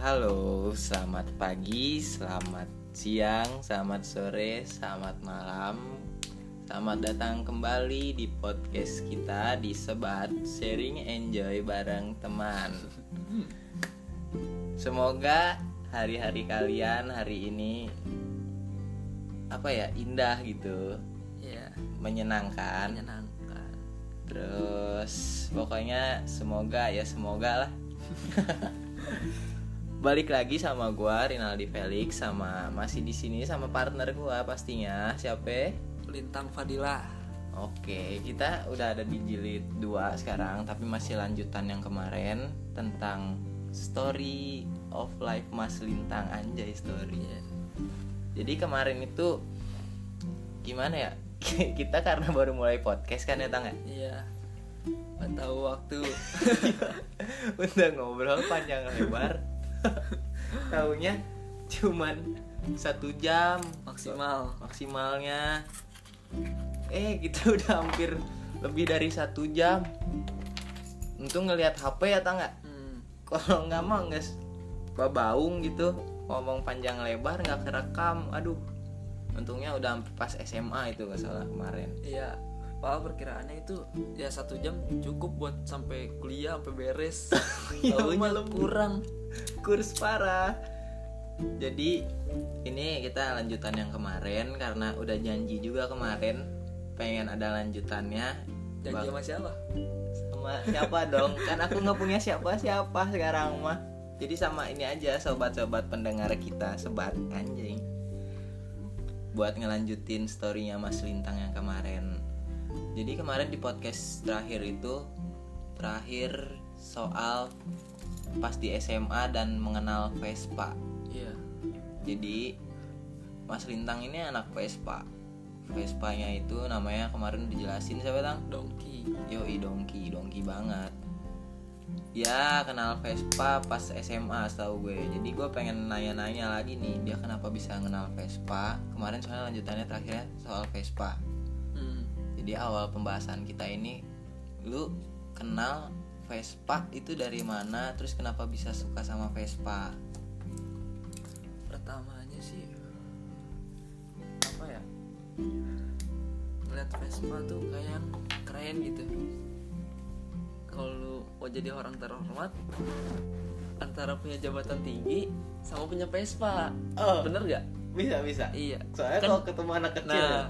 Halo, selamat pagi, selamat siang, selamat sore, selamat malam. Selamat datang kembali di podcast kita di Sebat Sharing Enjoy bareng teman. Semoga hari-hari kalian hari ini apa ya indah gitu, Iya, menyenangkan. menyenangkan. Kan. Terus pokoknya semoga ya semoga lah. Balik lagi sama gua Rinaldi Felix sama masih di sini sama partner gua pastinya siapa? Lintang Fadila. Oke, kita udah ada di jilid 2 sekarang tapi masih lanjutan yang kemarin tentang story of life Mas Lintang anjay story. ya. Jadi kemarin itu gimana ya? kita karena baru mulai podcast kan ya Tang ya? Iya. Gak tahu waktu. udah ngobrol panjang lebar taunya cuman satu jam Maksimal. maksimalnya eh kita udah hampir lebih dari satu jam untung ngelihat HP ya tangga Hmm, kalau nggak mah nggak s- babaung gitu ngomong panjang lebar nggak kerekam aduh untungnya udah hampir pas SMA itu nggak salah kemarin iya. Padahal perkiraannya itu ya satu jam cukup buat sampai kuliah sampai beres. Iya, Taunya malam. kurang. kurs parah. Jadi ini kita lanjutan yang kemarin karena udah janji juga kemarin pengen ada lanjutannya Janji Bak- sama siapa? sama siapa dong? Kan aku nggak punya siapa-siapa sekarang mah. Jadi sama ini aja sobat-sobat pendengar kita sebat anjing. Buat ngelanjutin storynya Mas Lintang yang kemarin. Jadi kemarin di podcast terakhir itu terakhir soal pas di SMA dan mengenal Vespa. Iya. Jadi Mas Lintang ini anak Vespa. Vespanya itu namanya kemarin dijelasin siapa tang? Dongki. Yoi dongki, dongki banget Ya kenal Vespa pas SMA setahu gue Jadi gue pengen nanya-nanya lagi nih Dia kenapa bisa kenal Vespa Kemarin soalnya lanjutannya terakhirnya soal Vespa Hmm. Jadi awal pembahasan kita ini Lu kenal Vespa itu dari mana Terus kenapa bisa suka sama Vespa Pertamanya sih apa ya? Ngeliat Vespa tuh kayak yang keren gitu. Kalau lu mau jadi orang terhormat antara punya jabatan tinggi sama punya Vespa. Oh. Bener gak? Bisa bisa Iya. Soalnya Kan- kalau ketemu anak kecil ya. Nah,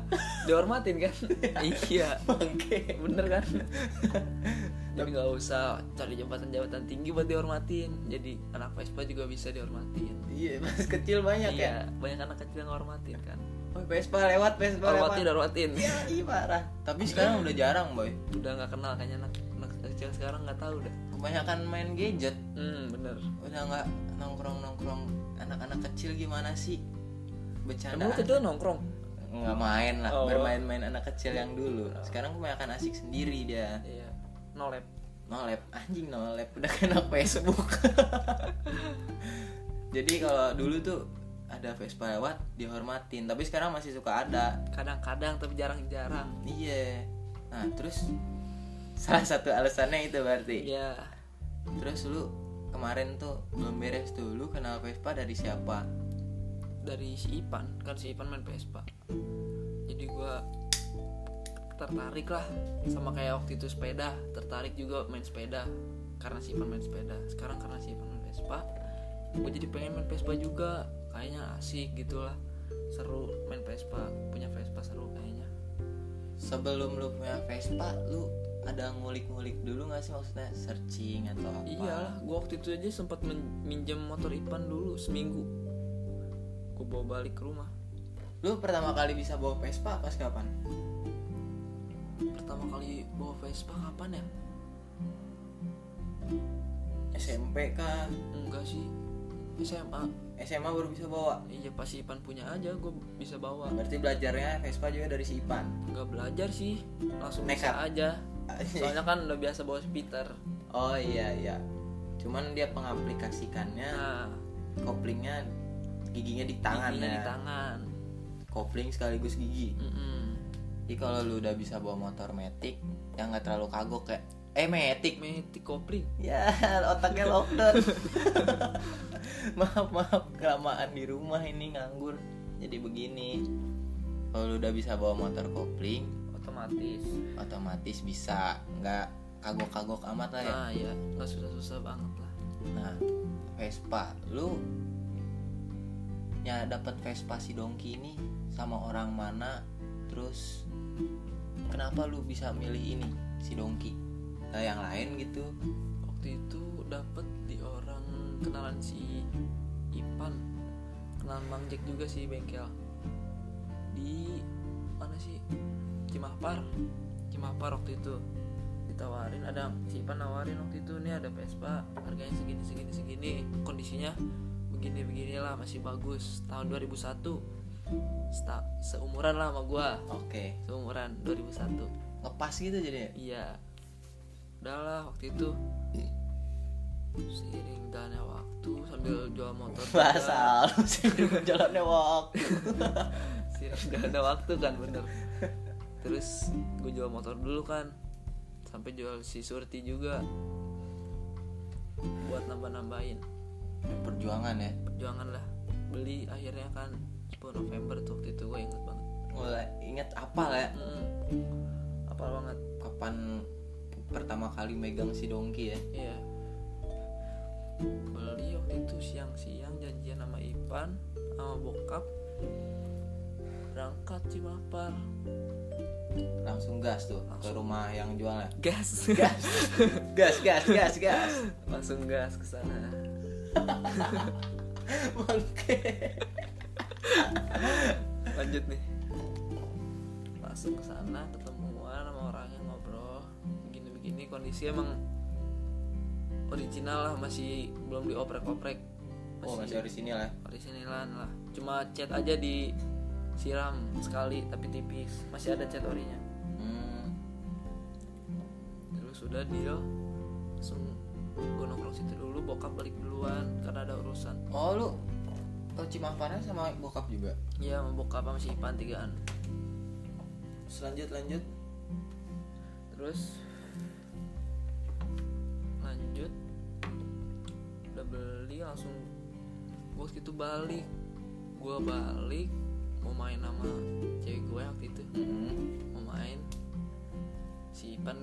dihormatin kan? iya. Bangke Bener kan? Jadi nggak usah cari jabatan-jabatan tinggi buat dihormatin. Jadi anak Vespa juga bisa dihormatin. Iya pas kecil banyak iya, banyak anak kecil yang hormatin kan. ya Oh, Vespa lewat Vespa Hormatin, lewat hormatin. Iya iya, parah Tapi sekarang udah jarang boy Udah nggak kenal kayaknya anak, anak kecil sekarang nggak tahu dah. kebanyakan main gadget Hmm, bener. udah nggak nongkrong nongkrong anak-anak kecil gimana sih bercanda Emang lu kedua nongkrong? nggak main lah Oh. bermain-main anak kecil yang dulu sekarang kebanyakan asik sendiri dia Iya. Nolep. nolep anjing nolep udah kena Facebook jadi kalau dulu tuh ada Vespa lewat dihormatin tapi sekarang masih suka ada Kadang-kadang tapi jarang-jarang. iya nah terus salah satu alasannya itu berarti Iya. Terus lu kemarin tuh belum beres tuh lu kenal Vespa dari siapa? Dari si Ipan, kan si Ipan main Vespa. Jadi gua tertarik lah sama kayak waktu itu sepeda tertarik juga main sepeda karena si Ipan main sepeda sekarang karena si Ipan main Vespa gue jadi pengen main Vespa juga kayaknya asik gitulah seru main Vespa punya Vespa seru kayaknya Sebelum lu punya Vespa, lu ada ngulik-ngulik dulu gak sih maksudnya searching atau apa? iyalah gue waktu itu aja sempat men- minjem motor Ipan dulu seminggu gue bawa balik ke rumah Lu pertama kali bisa bawa Vespa pas kapan? pertama kali bawa Vespa kapan ya SMP kah? enggak sih SMA SMA baru bisa bawa. iya pas si Ipan punya aja gue bisa bawa Berarti belajarnya Vespa juga dari si Ipan. nggak belajar sih langsung Nekat. bisa aja soalnya kan udah biasa bawa speeder oh iya iya. Cuman dia pengaplikasikannya nah koplingnya giginya di tangan giginya ya. di tangan Kopling sekaligus gigi. Mm-mm. Jadi kalau lu udah bisa bawa motor metik yang nggak terlalu kagok ya eh metik Metik kopling ya otaknya lockdown maaf maaf kelamaan di rumah ini nganggur jadi begini kalau lu udah bisa bawa motor kopling otomatis. otomatis bisa nggak kagok-kagok amat lah ya Nah ya nggak susah-susah banget lah. nah Vespa lu ya dapat Vespa si dongki ini sama orang mana terus kenapa lu bisa milih ini si dongki nah, yang lain gitu Waktu itu dapet di orang kenalan si Ipan, kenalan Bang Jack juga sih bengkel. Di mana sih? Cimahpar. Cimahpar waktu itu ditawarin ada si Ipan nawarin waktu itu nih ada Vespa harganya segini segini segini kondisinya begini beginilah masih bagus tahun 2001 Seta- seumuran lah sama gua oke seumuran 2001 ngepas gitu jadi Iya. Udahlah waktu itu seiring jalannya waktu sambil jual motor juga, bahasa lu sih jalannya waktu seiring jalannya waktu kan bener terus gue jual motor dulu kan sampai jual si surti juga buat nambah nambahin perjuangan ya perjuangan lah beli akhirnya kan 10 November tuh waktu itu gue inget banget mulai inget apa lah ya Mm-mm. apal banget kapan pertama kali megang si dongki ya Iya. Beli waktu itu siang-siang janjian sama Ipan sama bokap berangkat Cimapar langsung gas tuh ke Langsung. rumah yang jualnya gas gas gas gas gas gas langsung gas ke sana Bangke. lanjut nih langsung ke sana ketemuan sama orangnya ngobrol begini begini kondisi emang original lah masih belum dioprek-oprek Oh masih orisinil ya orisinilan lah cuma cat aja disiram sekali tapi tipis masih ada cat orinya hmm, terus sudah dia langsung gue nongkrong situ dulu bokap balik duluan karena ada urusan Oh lu tau Cimahpana sama bokap juga ya sama bokap sama si Ipan tigaan Selanjut lanjut terus lanjut udah beli langsung gue gitu balik gue balik mau main sama cewek gue waktu itu hmm. mau main si Ipan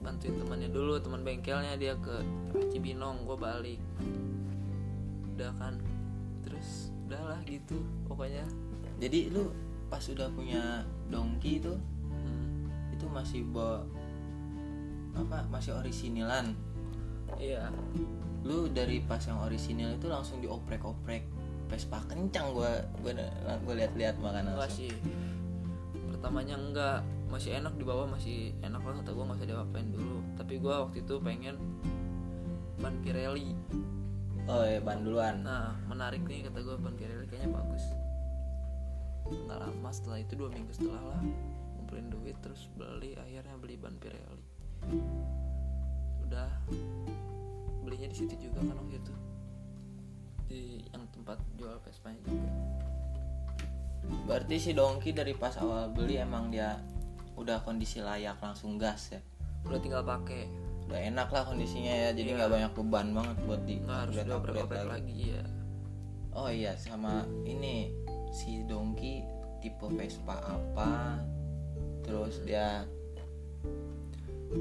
bantuin temannya dulu teman bengkelnya dia ke Cibinong gue balik udah kan terus udahlah gitu pokoknya Jadi lu pas udah punya dongki itu Hmm, Itu masih bawa Apa masih orisinilan iya Lu dari pas yang orisinil itu langsung dioprek-oprek Vespa kencang gua gua, gua lihat-lihat makan enggak langsung sih pertamanya enggak masih enak di bawah masih enak lah kata gue nggak usah diapain dulu tapi gue waktu itu pengen ban Pirelli Oh ya ban duluan nah menarik nih kata gue ban Pirelli kayaknya bagus nggak lama setelah itu dua minggu setelah lah ngumpulin duit terus beli akhirnya beli ban Pirelli udah belinya di situ juga kan waktu itu di yang tempat jual Vespa juga Berarti si dongki dari pas awal beli emang dia Udah kondisi layak langsung gas ya udah tinggal pakai udah enak lah kondisinya ya jadi Iya. nggak banyak beban banget buat di nggak harus upgrade- upgrade dioprek-oprek lagi. lagi ya oh iya sama ini si dongki tipe Vespa apa terus dia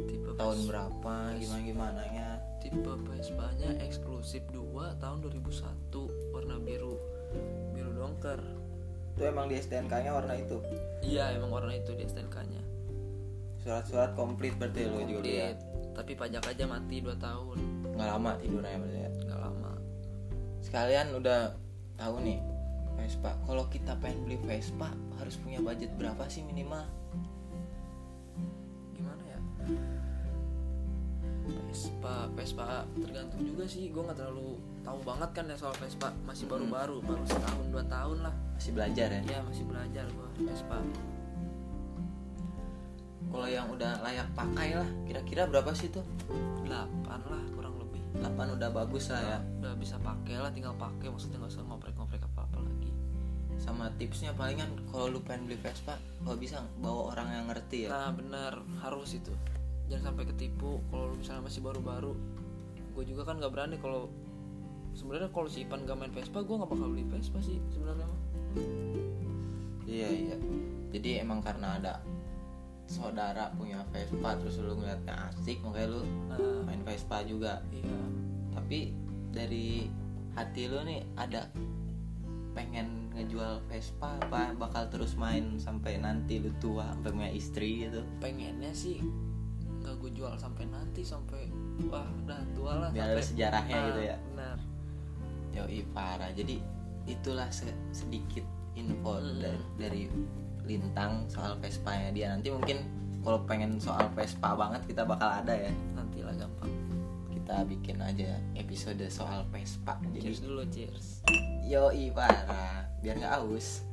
tipe tahun Vespa- berapa gimana gimana nya tipe Vespanya eksklusif 2 tahun 2001 warna biru biru dongker itu emang di STNK nya warna itu iya emang warna itu di STNK nya surat-surat komplit berarti lu juga beli ya Komplit. tapi pajak aja mati 2 tahun nggak lama tidurnya berarti ya nggak lama sekalian udah tahu nih Vespa kalau kita pengen beli Vespa harus punya budget berapa sih minimal gimana ya Vespa Vespa tergantung juga sih gue nggak terlalu tahu banget kan ya soal Vespa masih Hmm. baru-baru baru setahun dua tahun lah masih belajar ya ya masih belajar gue Vespa kalau yang udah layak pakai lah kira-kira berapa sih tuh 8 lah kurang lebih 8 udah bagus lah ya udah bisa pakai lah tinggal pakai maksudnya nggak usah ngoprek-ngoprek apa-apa lagi sama tipsnya kan palingan kalau lu pengen beli Vespa kalau bisa bawa orang yang ngerti ya Nah benar harus itu jangan sampai ketipu kalau lu misalnya masih baru-baru gue juga kan nggak berani kalau sebenarnya kalau si Ipan gak main Vespa gue nggak bakal beli Vespa sih sebenarnya mah Iya iya. Jadi emang karena ada saudara punya Vespa terus lu ngeliatnya asik makanya lu Nah, main Vespa juga. iya Tapi dari hati lu nih ada pengen ngejual Vespa apa bakal terus main sampai nanti lu tua sampai punya istri gitu pengennya sih nggak gue jual sampai nanti sampai wah udah tua lah biar ada sampai- sejarahnya Nah, gitu ya benar yoi parah jadi itulah se- sedikit info Mm. dari, dari lintang soal Vespanya dia nanti mungkin kalau pengen soal Vespa banget kita bakal ada ya nantilah gampang kita bikin aja episode soal Vespa jadi cheers dulu cheers yoi parah biar nggak aus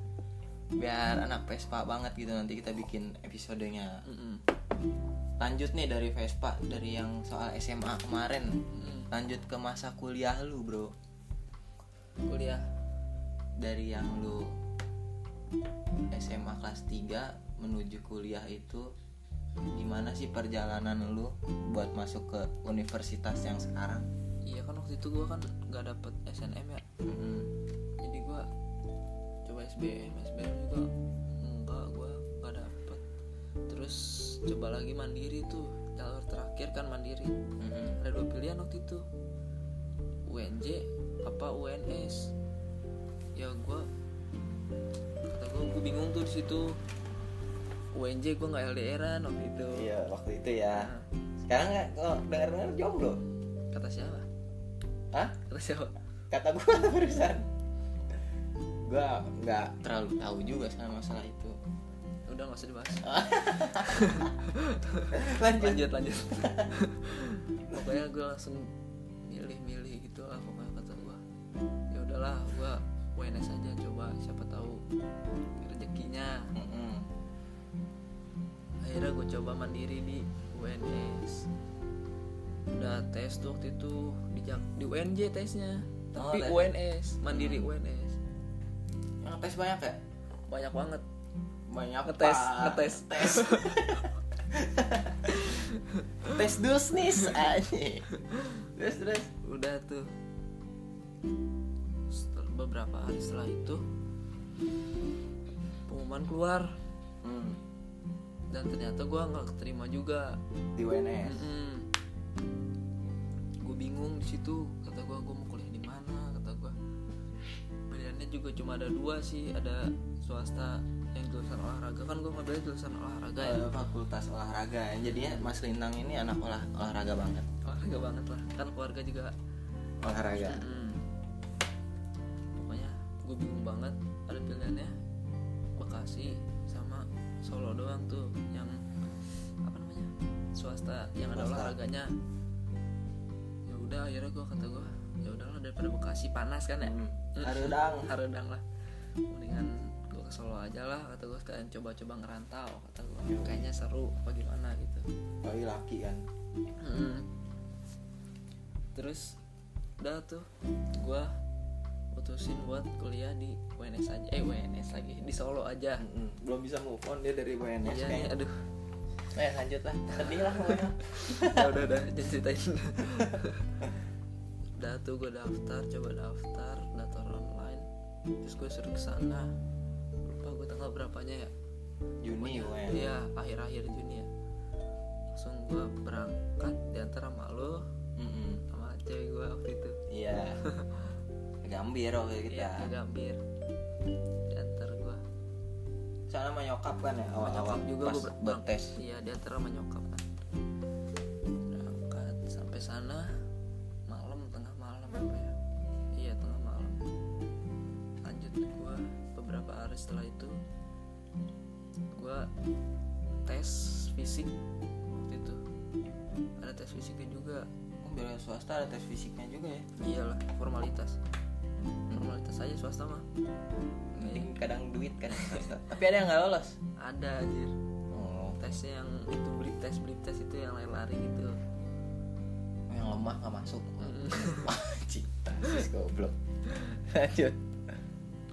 biar anak Vespa banget gitu nanti kita bikin episodenya Mm-mm. lanjut nih dari Vespa dari yang soal SMA kemarin Mm-mm. lanjut ke masa kuliah lu bro kuliah dari yang lu SMA kelas 3 menuju kuliah itu gimana sih perjalanan lu buat masuk ke universitas yang sekarang? iya kan waktu itu gue kan nggak dapet SNM ya Mm-mm. jadi gue coba SBM SBM juga enggak gue nggak dapet terus coba lagi mandiri tuh jalur terakhir kan mandiri Mm-mm. ada dua pilihan waktu itu UNJ apa UNS ya gue kata gue gue bingung tuh di situ UNJ gue nggak LDRan waktu itu Iya waktu itu ya. Sekarang nggak kok denger denger jomblo? kata siapa Hah? kata siapa Kata gua barusan. gua nggak terlalu tahu juga sama masalah itu. udah nggak usah dibahas Lanjut. lanjut lanjut pokoknya gue langsung milih-milih gitu lah pokoknya kata gue ya udahlah gue UNS aja coba siapa tahu rezekinya Mm-mm. akhirnya gue coba mandiri di UNS udah tes tuh waktu itu di Jak- di UNJ tesnya Oh, tes. tapi UNS mandiri Hmm. UNS Yang tes banyak ya? banyak banget Banyak Ngetes, Pak. ngetes. tes. tes dusnis anjing. Terus terus. udah tuh Setel- beberapa hari setelah itu pengumuman keluar Hmm, dan ternyata gue nggak keterima juga di UNS. gue bingung di situ kata gue gue mau kuliah di mana kata gue pilihannya juga cuma ada dua sih ada swasta yang jurusan olahraga kan gue ngambil jurusan olahraga ya Eh, fakultas olahraga. Jadinya Mas Lintang ini anak olah olahraga banget. olahraga banget lah kan keluarga juga Olahraga. Mm. pokoknya gue bingung banget ada pilihannya Bekasi sama Solo doang tuh yang apa namanya swasta yang ada Swasta. olahraganya ya udah akhirnya gue kata gue ya udahlah daripada Bekasi panas kan ya Hmm. Mm. Harudang. Harudang lah mendingan gue ke Solo aja lah kata gue sekalian coba-coba ngerantau kata gue kayaknya seru apa gimana gitu Kali laki kan. Mm. Terus udah tuh gua putusin buat kuliah di UNS aja. Eh UNS lagi di Solo aja. Mm-mm. Hmm. Belum bisa move on dia dari UNS Iya nih, kayaknya. aduh. Eh, lanjut lah. Sedih lah pokoknya. Ya udah udah jangan ceritain. udah tuh gua daftar, coba daftar, daftar online. Terus gue suruh ke sana. Lupa gue tanggal berapanya ya? Juni UNS. Iya, akhir-akhir Juni ya. Langsung gua berangkat diantar sama lo Mm-mm. sama cewek gue waktu itu. Hmm. Iya. Gambir waktu kita. Iya, ke Gambir. Diantar gua. Soalnya sama nyokap kan ya Sama awal-awal nyokap juga pas gua ber- buat tes. Iya, diantar sama nyokap kan. Berangkat sampai sana malam tengah malam apa ya? Iya, tengah malam. Lanjut gua beberapa hari setelah itu gua tes fisik waktu itu. Ada tes fisiknya juga. Oh, Bela swasta ada tes fisiknya juga ya. Iyalah, formalitas. Formalitas aja swasta mah. Penting kadang duit kan swasta. Iya. Tapi ada yang nggak lolos. Ada anjir. Oh, tesnya yang itu blip tes blip tes itu yang lari-lari gitu yang lemah nggak masuk. Cinta sis goblok. Lanjut.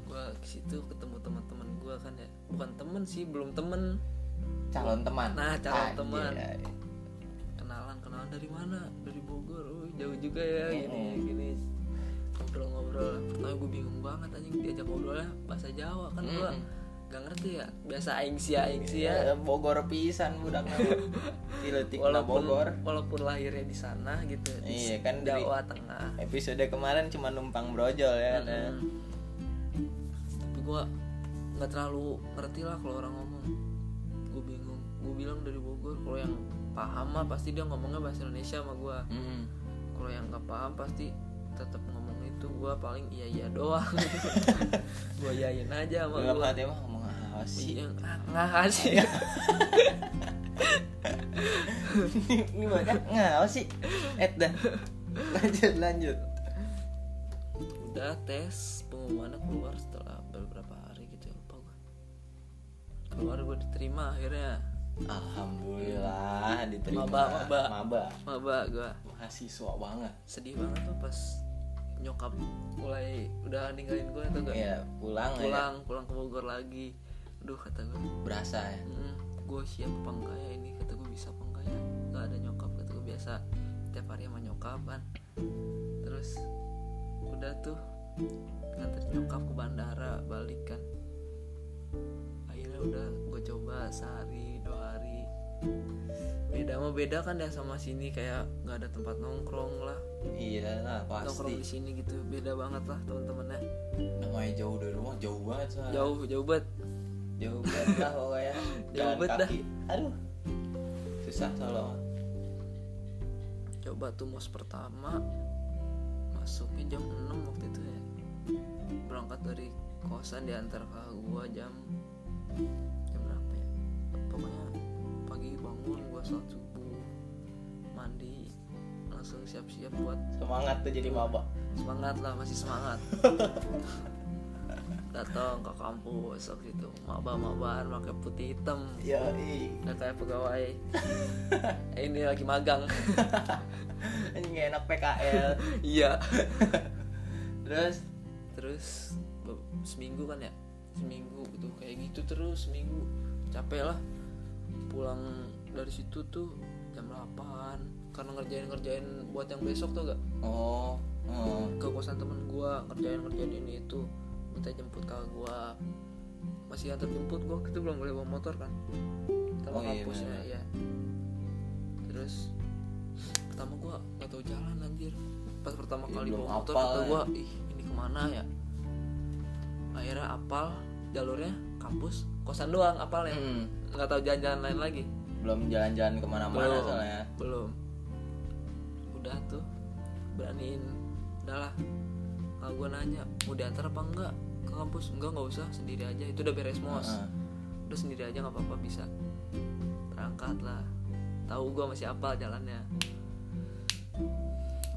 gue ke situ ketemu teman-teman gue kan ya bukan temen sih belum temen Calon teman. Nah, calon teman. "Ah, dari mana dari Bogor oh jauh juga ya gini Mm-mm. gini ngobrol-ngobrol pertama gue bingung banget anjing diajak ngobrolnya bahasa Jawa kan gue gak ngerti ya biasa ya. aing sia aing sia Iya, Bogor pisan budak Ciletik lah walaupun Bogor. walaupun lahirnya di sana gitu di Iya, kan dari- Jawa Tengah Episode kemarin cuma numpang brojol ya. nah. Mm-mm. tapi gue nggak terlalu ngerti lah kalau orang ngomong gue bingung gue bilang dari Bogor kalau yang paham mah pasti dia ngomongnya bahasa Indonesia sama gue Mm. kalau yang nggak paham pasti tetap ngomong itu gue paling iya iya doang gue yain aja sama Dalam gue hati mah ngomong apa sih? yang ah, nggak sih Ini banyak ngah sih. Et Eh, dah. Lanjut lanjut. udah tes pengumumannya keluar setelah beberapa hari gitu ya lupa gue keluar gue diterima akhirnya Alhamdulillah diterima. Maba, maba. Maba. maba gue Mahasiswa banget. sedih banget tuh pas nyokap mulai udah ninggalin gue atau enggak Ya pulang, ya. Iya. pulang pulang ke Bogor lagi aduh kata gue Berasa ya. gue siap apa enggak ya ini kata gue bisa apa enggak ya nggak ada nyokap kata gue biasa tiap hari sama nyokap kan terus udah tuh nganter nyokap ke bandara balik kan akhirnya udah gue coba sehari dua hari beda mau beda kan ya sama sini kayak nggak ada tempat nongkrong lah Iya lah nongkrong di pasti. sini gitu beda banget lah teman-temannya Namanya jauh dari rumah jauh banget soalnya. jauh jauh banget jauh banget lah pokoknya Jauh jalan banget dah. kaki aduh susah solo coba tuh mos pertama masuknya jam 6 waktu itu ya berangkat dari kosan diantar ke gua jam jam berapa ya pokoknya pagi bangun gua sholat subuh mandi langsung siap-siap buat semangat tuh jadi maba semangat lah masih semangat datang ke kampus waktu itu maba mabar pakai putih hitam ya nggak kayak pegawai Eh, ini lagi magang anjing nggak enak PKL iya terus terus be- seminggu kan ya seminggu tuh kayak gitu terus seminggu capek lah pulang dari situ tuh jam 8 karena ngerjain ngerjain buat yang besok tuh gak oh oh ke kosan temen gua ngerjain ngerjain ini itu minta jemput kakak gua masih antar jemput gua itu belum boleh bawa motor kan Oh, sama iya, kampusnya bener. ya terus pertama gua nggak tahu jalan anjir pas pertama Iya, kali belum bawa motor apal kata ya. gua ih ini kemana ya akhirnya apal jalurnya kampus kosan doang apalnya Hmm, nggak tahu jalan-jalan lain lagi belum jalan-jalan kemana-mana Belum. soalnya belum udah tuh beraniin udahlah kalau gue nanya mau diantar apa enggak ke kampus enggak nggak usah sendiri aja itu udah beres mos Heeh. udah sendiri aja nggak apa-apa bisa berangkat lah tahu gue masih apa jalannya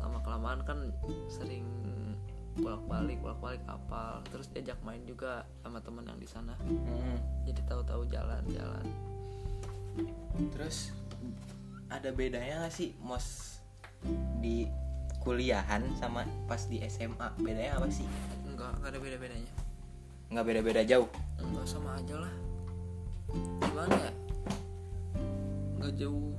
lama kelamaan kan sering bolak balik bolak balik apal terus diajak main juga sama temen yang di sana Hmm. jadi tahu-tahu jalan-jalan terus ada bedanya nggak sih mos di kuliahan sama pas di SMA bedanya apa sih enggak enggak ada beda bedanya nggak beda-beda jauh Enggak sama aja lah Gimana ya Gak jauh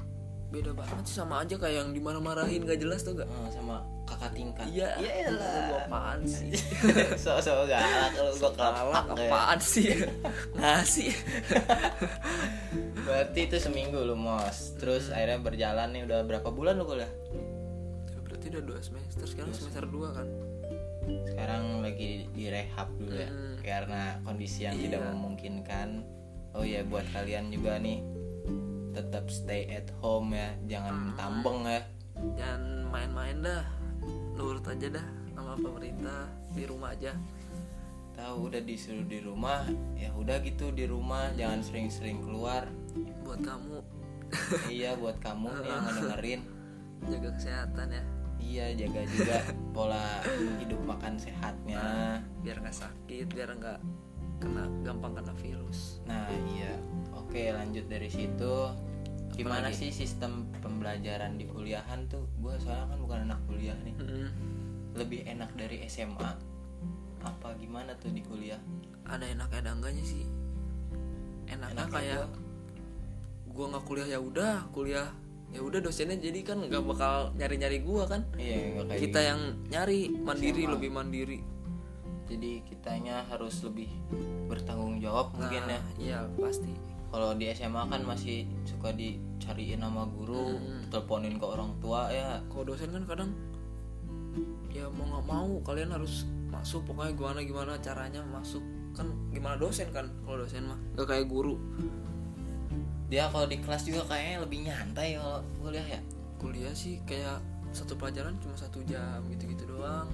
beda banget sih sama aja kayak yang dimarah-marahin gak jelas tuh gak Hmm, sama kakak tingkat Iya Iyalah. Lu apaan sih so-so galak lu gua Galak kelapak ya. apaan sih Nah sih Berarti itu seminggu lu mos Terus Hmm. akhirnya berjalan nih udah berapa bulan lu kuliah? Ya, Berarti udah 2 semester Sekarang semester 2 kan Sekarang lagi direhab dulu ya Hmm. Karena kondisi yang tidak Iya. memungkinkan Oh ya buat kalian juga nih Tetap stay at home ya Hmm. Jangan tambeng ya Jangan main-main dah Nurut aja dah sama pemerintah Di rumah aja Tahu udah disuruh di rumah Ya udah gitu di rumah Jangan sering-sering keluar Buat kamu Iya buat kamu nih yang ngedengerin Jaga kesehatan ya Iya jaga juga pola hidup makan sehatnya Biar gak sakit Biar gak kena gampang kena virus Nah iya Oke lanjut dari situ Gimana sih sistem pembelajaran di kuliahan tuh Gue soalnya kan bukan anak kuliah nih Mm-mm. Lebih enak dari SMA Apa gimana tuh di kuliah ada enaknya ada enggaknya sih enaknya Enaknya kayak gua nggak kuliah ya udah kuliah ya udah dosennya jadi kan nggak bakal nyari nyari gua kan Iya, nggak kayak kita yang nyari mandiri Siapa? lebih mandiri Jadi kitanya harus lebih bertanggung jawab mungkin ya. Nah, iya pasti Kalau di SMA kan masih suka dicariin nama guru, teleponin ke orang tua ya. kalau dosen kan kadang ya mau nggak mau kalian harus masuk pokoknya gimana gimana caranya masuk kan gimana dosen kan kalau dosen mah nggak kayak guru Dia kalau di kelas juga kayaknya lebih nyantai kalau kuliah ya. kuliah sih kayak satu pelajaran cuma satu jam gitu gitu doang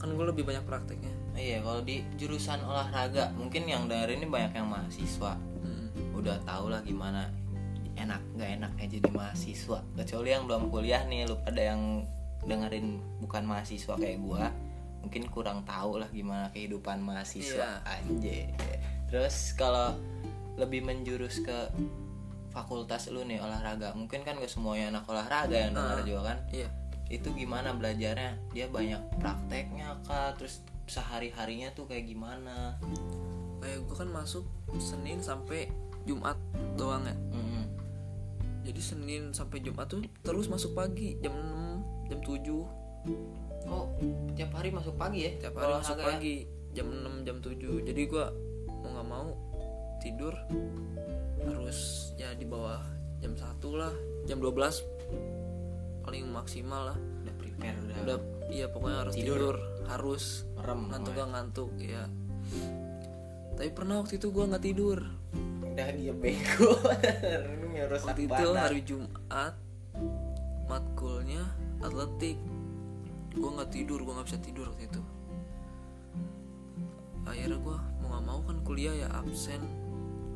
kan gue lebih banyak prakteknya Iya, kalau di jurusan olahraga mungkin yang dari ini banyak yang mahasiswa. Hmm. Udah tau lah gimana enak nggak enaknya jadi mahasiswa. Kecuali yang belum kuliah nih, lu pada yang dengerin bukan mahasiswa kayak gua, mungkin kurang tahu lah gimana kehidupan mahasiswa anjay. Terus kalau lebih menjurus ke fakultas lu nih olahraga, mungkin kan gak semuanya anak olahraga yang denger juga kan iya itu gimana belajarnya dia banyak prakteknya kak terus sehari harinya tuh kayak gimana kayak gue kan masuk senin sampai jumat doang ya Mm-mm. jadi senin sampai jumat tuh terus masuk pagi jam 6 jam 7 oh tiap hari masuk pagi ya tiap hari Olahraga masuk ya? pagi jam 6 jam 7 jadi gua mau nggak mau tidur harus ya di bawah jam 1 lah jam 12 paling maksimal lah udah prepare udah, udah iya pokoknya harus Ya. Tidur. Oh, iya. tidur, harus merem ngantuk namanya. gak ngantuk ya tapi pernah waktu itu gua nggak tidur udah dia bego Ini ngerusak waktu itu badan. hari Jumat matkulnya atletik gue nggak tidur gue nggak bisa tidur waktu itu akhirnya gue mau nggak mau kan kuliah ya absen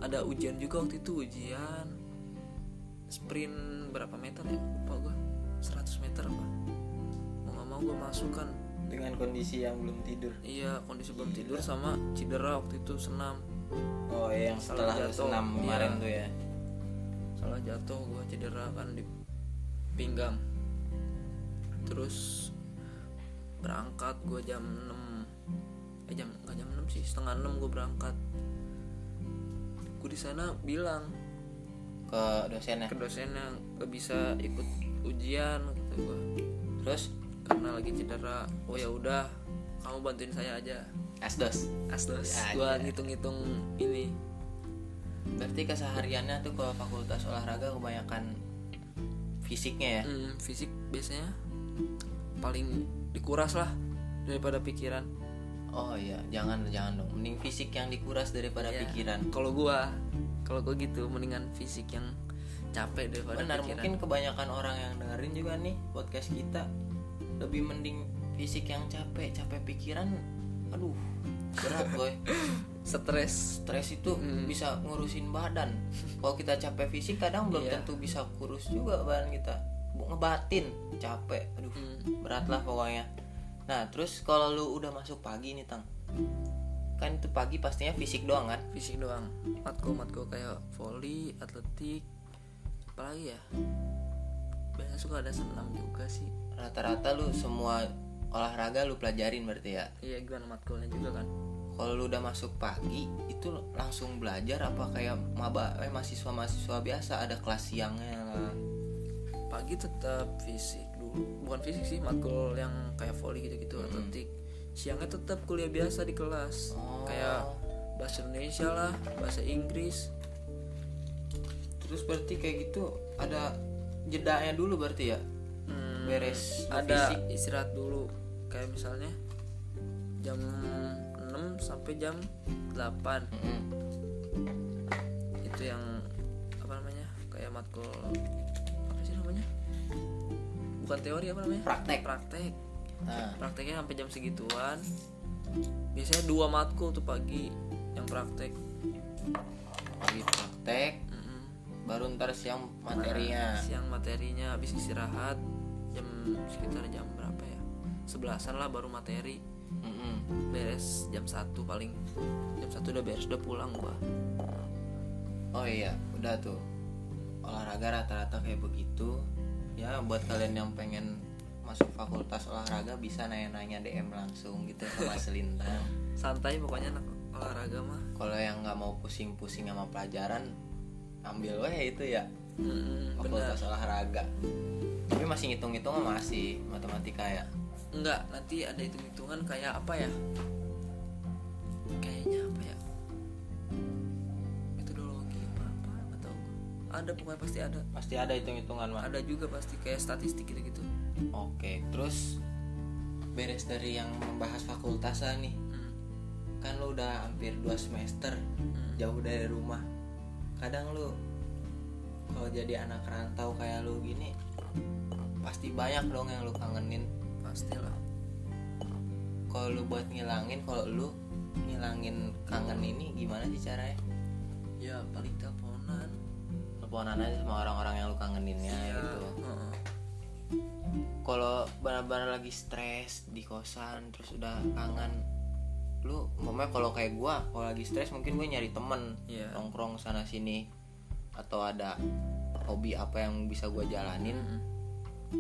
ada ujian juga waktu itu ujian sprint berapa meter ya lupa gue 100 meter apa mau nggak mau gue masuk kan dengan kondisi yang belum tidur iya kondisi belum tidur sama cedera waktu itu senam oh iya, yang Salah setelah lu jatuh. senam Iya. kemarin tuh ya salah jatuh gue cedera kan di pinggang terus berangkat gue jam 6 eh jam nggak jam 6 sih setengah 6 gue berangkat gue di sana bilang ke ya? dosennya ke dosennya nggak bisa ikut ujian kata gue terus karena lagi cedera oh ya udah kamu bantuin saya aja asdos asdos Ya, gue iya. ngitung-ngitung ini berarti kesehariannya tuh kalau fakultas olahraga kebanyakan fisiknya ya Hmm, fisik biasanya paling dikuras lah daripada pikiran Hmm. Oh iya, jangan jangan dong. Mending fisik yang dikuras daripada Iya. pikiran. kalau gua kalau gua gitu mendingan fisik yang capek daripada Benar, pikiran mungkin kebanyakan orang yang dengerin juga nih podcast kita lebih mending fisik yang capek, capek pikiran. Aduh, berat boy. stres Stres itu Hmm. bisa ngurusin badan. Kalau kita capek fisik kadang belum Iya. tentu bisa kurus juga badan kita. Bu- Ngebatin capek. Aduh, Hmm. berat lah pokoknya. Nah, terus kalau lu udah masuk pagi nih, Tang. Kan itu pagi pastinya fisik doang kan? fisik doang matko matko kayak volley atletik apalagi ya biasa suka ada senam juga sih rata-rata lu semua olahraga lu pelajarin berarti ya iya gimana matkulnya juga kan kalau lu udah masuk pagi itu langsung belajar apa kayak maba eh, mahasiswa mahasiswa biasa ada kelas siangnya lah pagi tetap fisik dulu bukan fisik sih matkul yang kayak volley gitu Hmm. gitu atletik siangnya tetap kuliah biasa di kelas Oh. kayak bahasa Indonesia lah bahasa Inggris terus berarti kayak gitu ada jedanya dulu berarti ya Hmm, beres lu ada fisik. istirahat dulu kayak misalnya jam 6 sampai jam 8 Mm-mm. itu yang apa namanya kayak matkul apa sih namanya bukan teori apa namanya Praktek. praktek nah prakteknya sampai jam segituan biasanya dua matkul tuh pagi yang praktek pagi praktek Mm-mm. baru ntar siang materinya siang materinya habis istirahat jam sekitar jam berapa ya sebelasan lah baru materi Mm-mm. beres jam satu paling jam satu udah beres udah pulang gua Oh iya, udah tuh. Olahraga rata-rata kayak begitu. Ya, buat kalian yang pengen masuk fakultas olahraga bisa nanya-nanya DM langsung gitu sama Selintang. santai pokoknya anak olahraga mah Kalau yang nggak mau pusing-pusing sama pelajaran, ambil weh itu ya Mm, benar. fakultas olahraga tapi masih ngitung-ngitung masih matematika ya Enggak, nanti ada hitung-hitungan kayak apa ya? Kayaknya apa ya? Metodologi apa apa nggak tahu. Ada pokoknya pasti ada. pasti ada hitung-hitungan mah Ada juga pasti kayak statistik gitu-gitu. oke terus beres dari yang membahas fakultas lah nih Hmm, kan lu udah hampir 2 semester hmm. jauh dari rumah kadang lu kalau jadi anak rantau kayak lu gini pasti banyak dong yang lu kangenin Pastilah. kalau lu buat ngilangin kalau lu ngilangin kangen ini gimana sih caranya Ya paling teleponan. teleponan aja sama orang-orang yang lu kangeninnya gitu Ya. Heeh. kalau benar-benar lagi stres di kosan terus udah kangen lu umpamanya kalau kayak gua kalau lagi stres mungkin gue nyari temen Iya. nongkrong sana sini atau ada hobi apa yang bisa gua jalanin Mm-mm.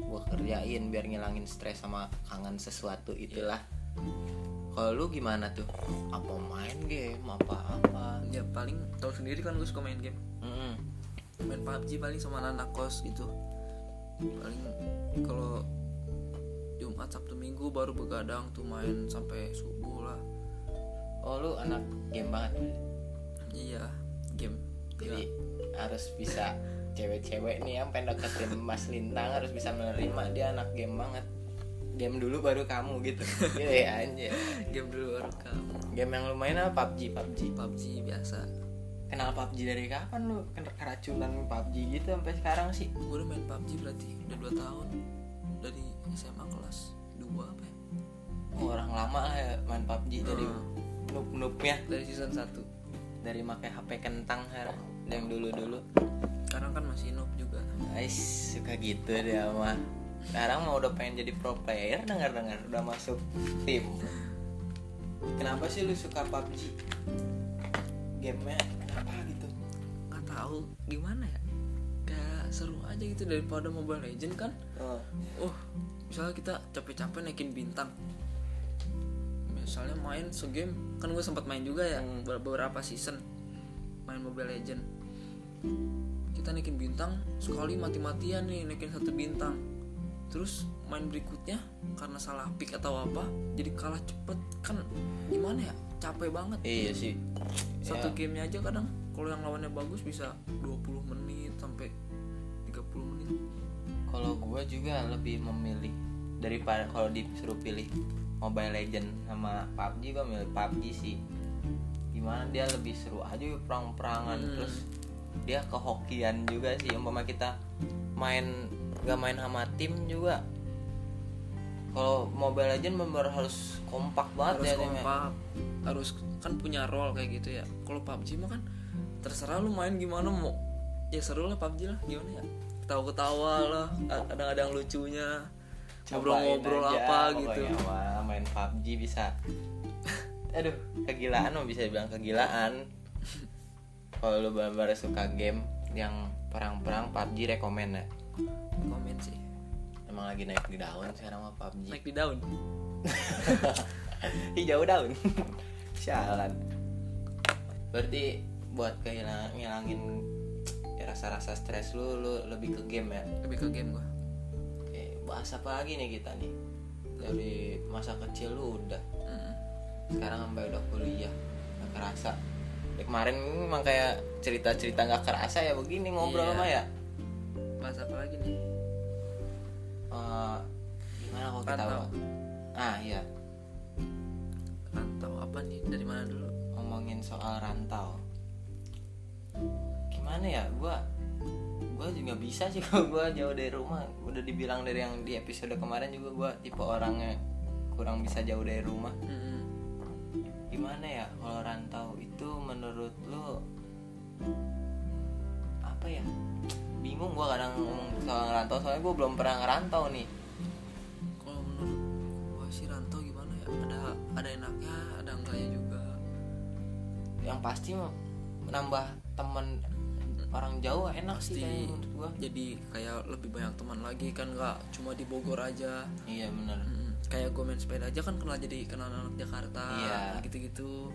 gua kerjain biar ngilangin stres sama kangen sesuatu itulah Iya. kalau lu gimana tuh apa main game apa apa Ya paling tahu sendiri kan gue suka main game. Mm-mm. main PUBG paling sama anak kos gitu paling kalau Jumat Sabtu Minggu baru begadang tuh main sampai subuh lah oh lu anak game banget iya game jadi harus bisa cewek-cewek nih yang pengen deketin Mas Lintang harus bisa menerima dia anak game banget game dulu baru kamu gitu Gile, anjir Iya, game dulu baru kamu game yang lumayan apa PUBG PUBG PUBG biasa kenal PUBG dari kapan lu Ken- keracunan PUBG gitu sampai sekarang sih gue udah main PUBG berarti udah 2 tahun dari SMA kelas 2 apa ya Oh, orang lama lah ya main PUBG dari noob noobnya dari season 1 dari pakai HP kentang her yang dulu dulu sekarang kan masih noob juga Ais suka gitu dia mah sekarang mau udah pengen jadi pro player dengar dengar udah masuk tim kenapa sih lu suka PUBG gamenya apa gitu nggak tahu gimana ya kayak seru aja gitu daripada Mobile Legend kan oh, Oh, misalnya kita capek-capek naikin bintang. Misalnya main segame, kan gue sempat main juga ya Hmm. ber- beberapa season main Mobile Legend. Kita naikin bintang sekali mati-matian nih naikin satu bintang. Terus main berikutnya karena salah pick atau apa, jadi kalah cepet kan gimana ya? Capek banget. iya sih Satu Ya, gamenya aja kadang kalau yang lawannya bagus bisa 20 menit sampai 30 menit. kalau gua juga lebih memilih daripada kalau disuruh pilih Mobile Legend sama PUBG gua milih PUBG sih gimana dia lebih seru aja perang-perangan Hmm. terus dia kehokian juga sih umpama kita main gak main sama tim juga kalau Mobile Legend memang harus kompak banget harus ya timnya. kompak harus kan punya role kayak gitu ya kalau PUBG mah kan terserah lu main gimana mau ya seru lah PUBG lah gimana ya ketawa-ketawa lah kadang-kadang lucunya Cobain ngobrol-ngobrol aja, apa gitu pokoknya mah main PUBG bisa aduh kegilaan mah bisa dibilang kegilaan kalau lu benar-benar suka game yang perang-perang PUBG rekomen ya komen sih emang lagi naik di daun sekarang mah PUBG naik di daun hijau daun sialan berarti buat kehilangan ngilangin ya, rasa-rasa stres lu lu lebih ke game ya lebih ke game gua Oke, bahas apa lagi nih kita nih dari masa kecil lu udah Mm. sekarang sampai udah kuliah nggak kerasa ya, kemarin memang kayak cerita cerita nggak kerasa ya begini ngobrol Iya. sama ya bahas apa lagi nih Eh, gimana kalau kita Rantau. ah iya rantau apa nih dari mana dulu ngomongin soal rantau gimana ya gua gua juga bisa sih kalau gua jauh dari rumah udah dibilang dari yang di episode kemarin juga gua tipe orangnya kurang bisa jauh dari rumah Mm-mm. gimana ya kalau rantau itu menurut lu apa ya bingung gua kadang ngomong soal rantau soalnya gua belum pernah ngerantau nih kalau menurut gua sih rantau gimana ya ada ada enaknya ada enggaknya juga yang pasti mah menambah temen orang jauh enak sih Pasti. kayaknya menurut gua jadi kayak lebih banyak teman lagi kan nggak cuma di Bogor aja iya bener Mm, kayak gue main sepeda aja kan kenal jadi kenal anak Jakarta Iya. gitu-gitu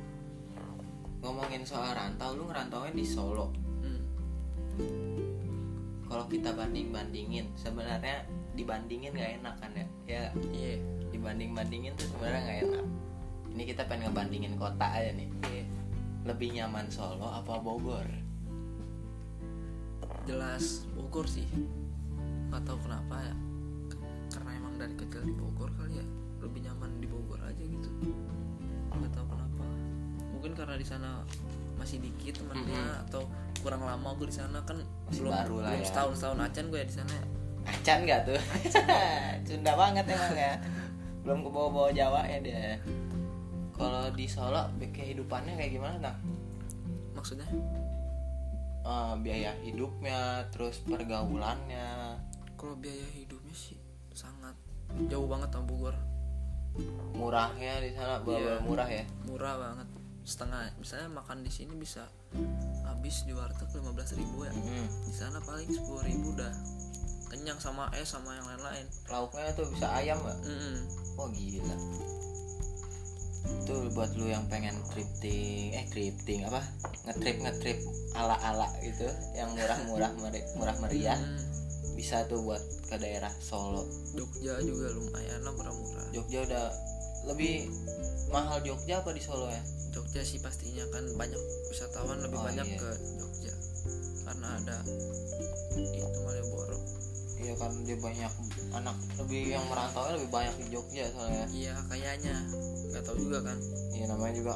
ngomongin soal rantau lu ngerantaunya di Solo Mm. kalau kita banding bandingin sebenarnya dibandingin nggak enak kan ya ya iya dibanding bandingin tuh sebenarnya nggak enak ini kita pengen ngebandingin kota aja nih iya lebih nyaman Solo apa Bogor jelas Bogor sih nggak tahu kenapa ya K- karena emang dari kecil di Bogor kali ya lebih nyaman di Bogor aja gitu nggak tahu kenapa mungkin karena di sana masih dikit temennya Mm-mm. atau kurang lama gue di sana kan Masih belum baru lah belum ya. setahun setahun acan gue ya di sana ya. acan nggak tuh cunda banget emang ya belum ke bawa bawa Jawa ya dia kalau di Solo kehidupannya kayak gimana Tang? maksudnya Eh, biaya hidupnya terus pergaulannya kalau biaya hidupnya sih sangat jauh banget sama Bogor murahnya di sana bawa Iya. murah ya murah banget setengah misalnya makan di sini bisa habis di warteg 15.000 ya Mm. di sana paling 10.000 udah kenyang sama es sama yang lain-lain lauknya tuh bisa ayam nggak Mm-mm. oh gila tuh buat lu yang pengen tripting eh tripting apa ngetrip ngetrip ala ala gitu yang murah murah murah meriah Mm. bisa tuh buat ke daerah Solo Jogja juga lumayan lah murah-murah Jogja udah lebih mahal Jogja apa di Solo ya Jogja sih pastinya kan banyak wisatawan lebih Oh, banyak iya. ke Jogja karena ada itu Malioboro iya kan dia banyak anak lebih yang merantau lebih banyak di Jogja soalnya iya kayaknya nggak tahu juga kan iya namanya juga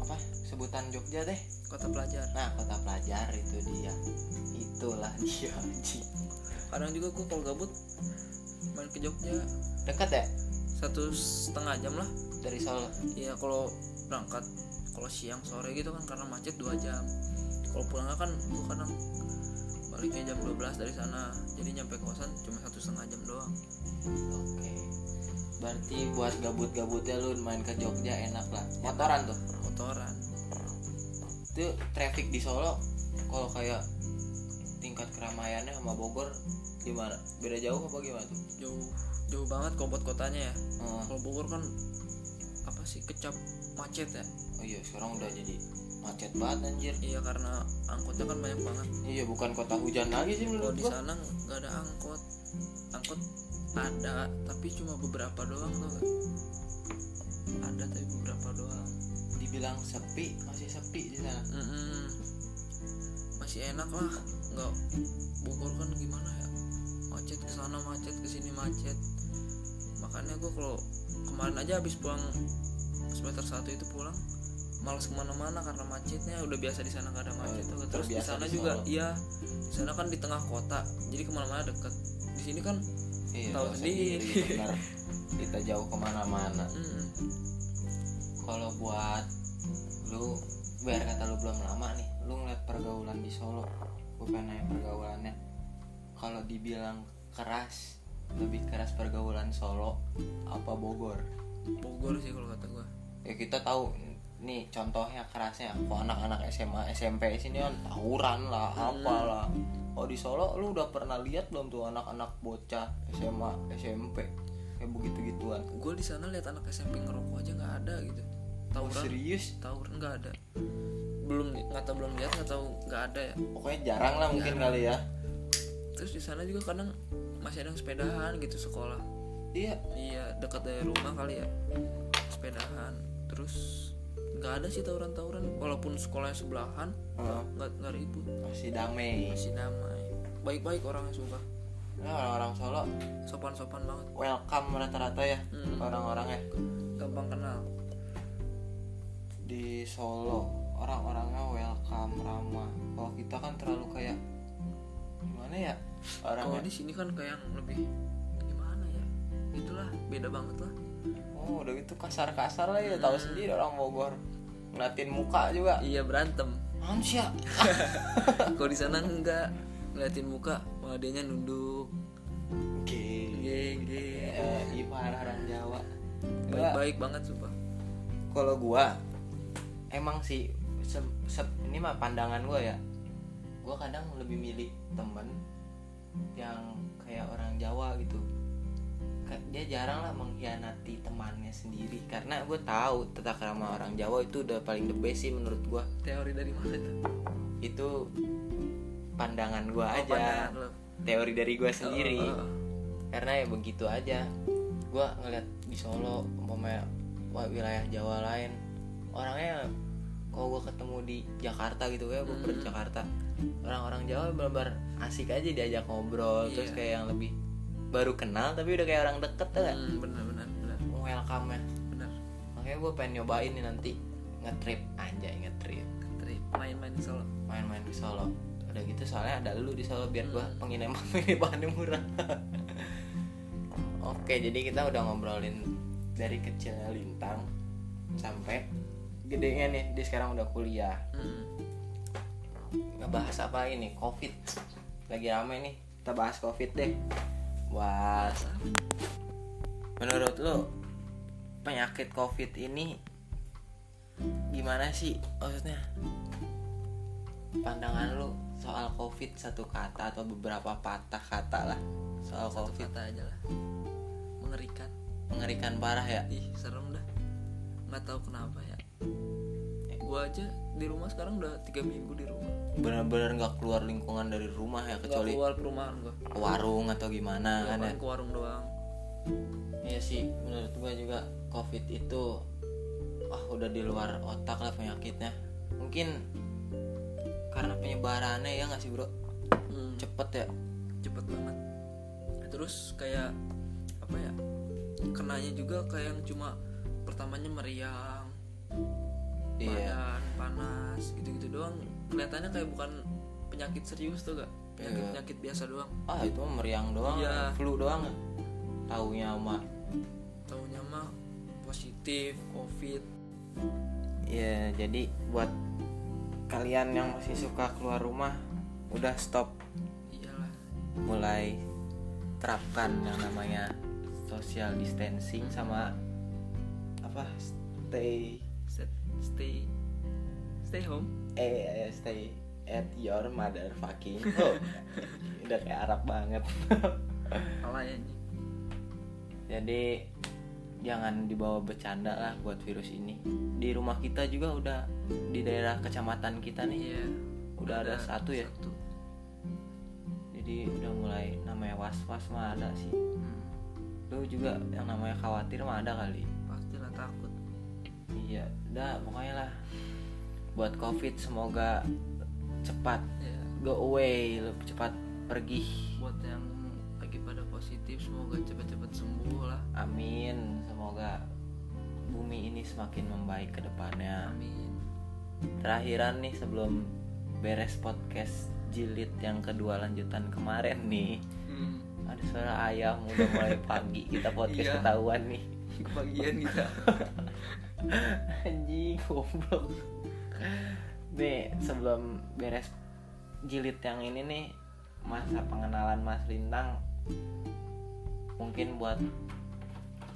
apa sebutan Jogja deh kota pelajar nah kota pelajar itu dia itulah dia anjing. kadang juga gue kalau gabut main ke Jogja dekat ya satu setengah jam lah dari Solo Iya kalau berangkat kalau siang sore gitu kan karena macet dua jam. Kalau pulangnya kan gua kadang baliknya jam 12 dari sana. Jadi nyampe kosan cuma satu setengah jam doang. Oke. Berarti buat gabut-gabutnya lu main ke Jogja enak lah. Motoran tuh. Motoran. Itu traffic di Solo kalau kayak tingkat keramaiannya sama Bogor gimana? Beda jauh apa gimana tuh? Jauh jauh banget kok buat kotanya ya. Eh, Kalau Bogor kan apa sih kecap macet ya. oh iya, sekarang udah jadi macet banget anjir. Iya karena angkotnya kan banyak banget. Iya, bukan kota hujan lagi sih Kalau menurut di gua. sana nggak ada angkot. Angkot ada tapi cuma beberapa doang tuh. Ada tapi beberapa doang. Dibilang sepi, masih sepi di sana. Mm-mm. masih enak lah nggak Bogor kan gimana ya macet ke sana macet ke sini macet makanya gue kalau kemarin aja habis pulang semester satu itu pulang males kemana-mana karena macetnya udah biasa di sana nggak ada macet Oh, tuh. terus di terbiasa sana di juga Solo. iya di sana kan di tengah kota jadi kemana-mana deket di sini kan Iya, Tahu tahu sendiri. sendiri. bener. Kita jauh kemana-mana. mm, kalau buat lu biar kata lu belum lama nih lu ngeliat pergaulan di Solo gue pengen nanya pergaulannya kalau dibilang keras lebih keras pergaulan Solo apa Bogor Bogor sih kalau kata gue ya kita tahu nih contohnya kerasnya kok anak-anak SMA SMP sini kan tawuran lah apalah kalau di Solo lu udah pernah lihat belum tuh anak-anak bocah SMA SMP kayak begitu gituan gue di sana lihat anak SMP ngerokok aja nggak ada gitu tawuran serius tawur nggak ada belum nggak tahu belum lihat nggak tahu nggak ada ya pokoknya jarang lah mungkin kali ya terus di sana juga kadang masih ada yang sepedahan gitu sekolah iya iya dekat dari rumah kali ya sepedahan terus nggak ada sih tawuran-tawuran walaupun sekolahnya sebelahan Heeh. nggak nggak ribut Oh, masih damai masih damai baik-baik orangnya suka Nah, orang-orang Solo sopan-sopan banget welcome rata-rata ya Hmm. orang-orangnya gampang kenal di Solo orang-orangnya welcome ramah kalau kita kan terlalu kayak gimana ya kalau orangnya di sini kan kayak yang lebih gimana ya itulah beda banget lah oh udah gitu kasar-kasar lah ya tahu Hmm. sendiri orang Bogor ngeliatin muka juga iya berantem Amsya kalau di sana enggak ngeliatin muka malah dianya nunduk Oke Iya, Gege Ipar orang Jawa Gua- Baik-baik banget sumpah kalau gua emang sih se- se- ini mah pandangan gua ya gua kadang lebih milih temen yang kayak orang Jawa gitu Ka- dia jarang lah mengkhianati temannya sendiri karena gue tahu tata krama orang Jawa itu udah paling the best sih menurut gua Teori dari mana tuh? itu pandangan gua Oh, aja pandangan lo. teori dari gue sendiri Eh, karena ya begitu aja gue ngeliat di Solo umpamanya wa- wilayah Jawa lain orangnya kalau gue ketemu di Jakarta gitu ya gue pergi Mhm. Jakarta orang-orang Jawa benar asik aja diajak ngobrol Iya. terus kayak yang lebih baru kenal tapi udah kayak orang deket tuh gak hmm, benar benar benar welcome ya benar makanya gue pengen nyobain nih nanti ngetrip anjay ngetrip Tri- main-main di Solo main-main di Solo udah gitu soalnya ada lu di Solo biar gua Hmm. pengiriman pengirimannya murah oke jadi kita udah ngobrolin dari kecilnya Lintang sampai gedenya nih dia sekarang udah kuliah Hmm. ngebahas apa ini covid lagi rame nih kita bahas covid deh bahas menurut lo penyakit covid ini gimana sih maksudnya pandangan lu soal covid satu kata atau beberapa patah kata lah soal satu covid kata aja lah mengerikan mengerikan parah ya ih serem dah nggak tahu kenapa ya gua aja di rumah sekarang udah tiga minggu di rumah bener-bener nggak keluar lingkungan dari rumah ya nggak kecuali Nah, keluar perumahan gua ke warung atau gimana Gua kan ya paling ke warung doang Iya sih, menurut gua juga COVID itu ah udah di luar otak lah penyakitnya. Mungkin karena penyebarannya ya nggak sih bro, Hmm, cepet ya. cepet banget terus kayak apa ya kenanya juga kayak yang cuma pertamanya meriang Iya. badan panas gitu-gitu doang kelihatannya kayak bukan penyakit serius tuh gak penyakit Iya. penyakit biasa doang Ah itu mah meriang doang, Iya. flu doang. Taunya mah. taunya mah positif covid Iya, jadi buat kalian yang masih suka keluar rumah, udah stop iyalah mulai terapkan yang namanya social distancing sama apa stay Set- stay stay home eh eh, stay at your motherfucking home udah kayak Arab banget alay aja jadi jangan dibawa bercanda lah buat virus ini di rumah kita juga udah di daerah kecamatan kita nih iya udah ada satu ya? satu. jadi udah mulai namanya was was mah ada sih Hmm, lu juga yang namanya khawatir mah ada kali pastilah takut iya udah pokoknya lah buat covid semoga cepat ya go away lu cepat pergi buat yang lagi pada positif semoga cepet-cepet sembuh lah amin semoga bumi ini semakin membaik ke depannya amin terakhiran nih sebelum beres podcast jilid yang kedua lanjutan kemarin nih Hmm, ada suara ayam udah mulai pagi kita podcast Iya. ketahuan nih kebagian kita anjing goblok nih sebelum beres jilid yang ini nih masa pengenalan Mas Lintang mungkin buat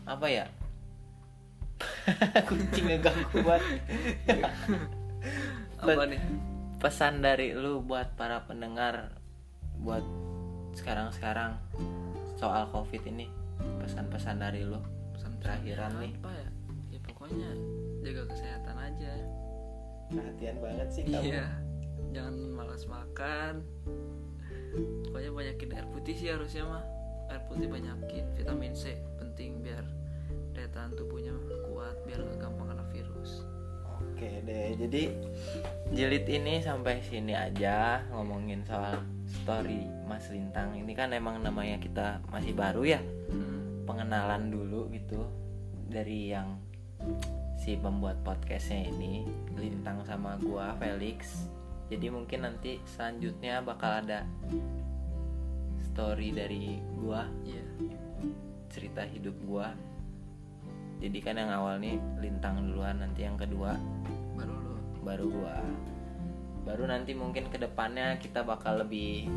apa ya kucing ngeganggu banget apa nih pesan dari lu buat para pendengar buat sekarang-sekarang soal covid ini pesan-pesan dari lu pesan Terakhiran nih. apa ya ya pokoknya jaga kesehatan aja perhatian banget sih iya jangan malas makan pokoknya banyakin air putih sih harusnya mah air putih banyakin vitamin C penting biar daya tahan tubuhnya kuat biar nggak gampang kena virus oke deh jadi jilid ini sampai sini aja ngomongin soal story Mas Lintang ini kan emang namanya kita masih baru ya Hmm, pengenalan dulu gitu dari yang si pembuat podcastnya ini Lintang sama gua Felix jadi mungkin nanti selanjutnya bakal ada story dari gua iya cerita hidup gua jadi kan yang awal nih Lintang duluan nanti yang kedua baru lo baru gua baru nanti mungkin kedepannya kita bakal lebih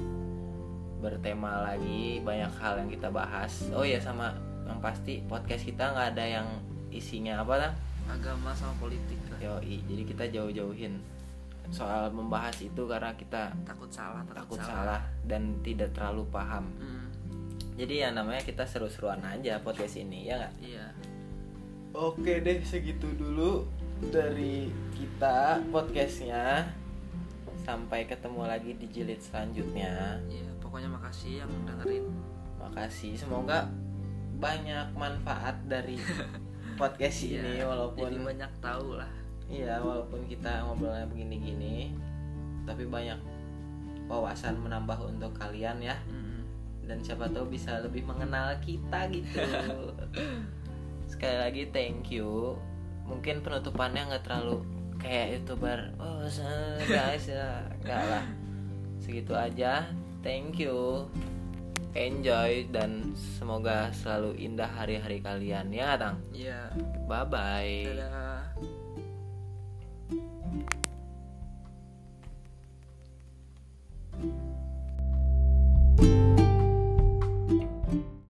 bertema lagi banyak hal yang kita bahas oh ya sama yang pasti podcast kita nggak ada yang isinya apa lah agama sama politik lah yoi jadi kita jauh-jauhin soal membahas itu karena kita takut salah takut, takut salah dan tidak terlalu paham Hmm, jadi ya namanya kita seru-seruan aja podcast ini ya nggak iya Oke deh segitu dulu dari kita podcastnya Sampai ketemu lagi di jilid selanjutnya iya pokoknya pokoknya makasih yang dengerin Makasih. Semoga banyak manfaat dari podcast ini Ya, walaupun jadi banyak tahu lah iya walaupun kita ngobrolnya begini-gini tapi banyak wawasan menambah untuk kalian ya Mm-mm. dan siapa tahu bisa lebih mengenal kita gitu. Sekali lagi thank you. Mungkin penutupannya nggak terlalu kayak youtuber. Oh se- guys ya nggak lah. Segitu aja. Thank you. Enjoy dan semoga selalu indah hari-hari kalian ya, Tang. ya Bye bye. dadah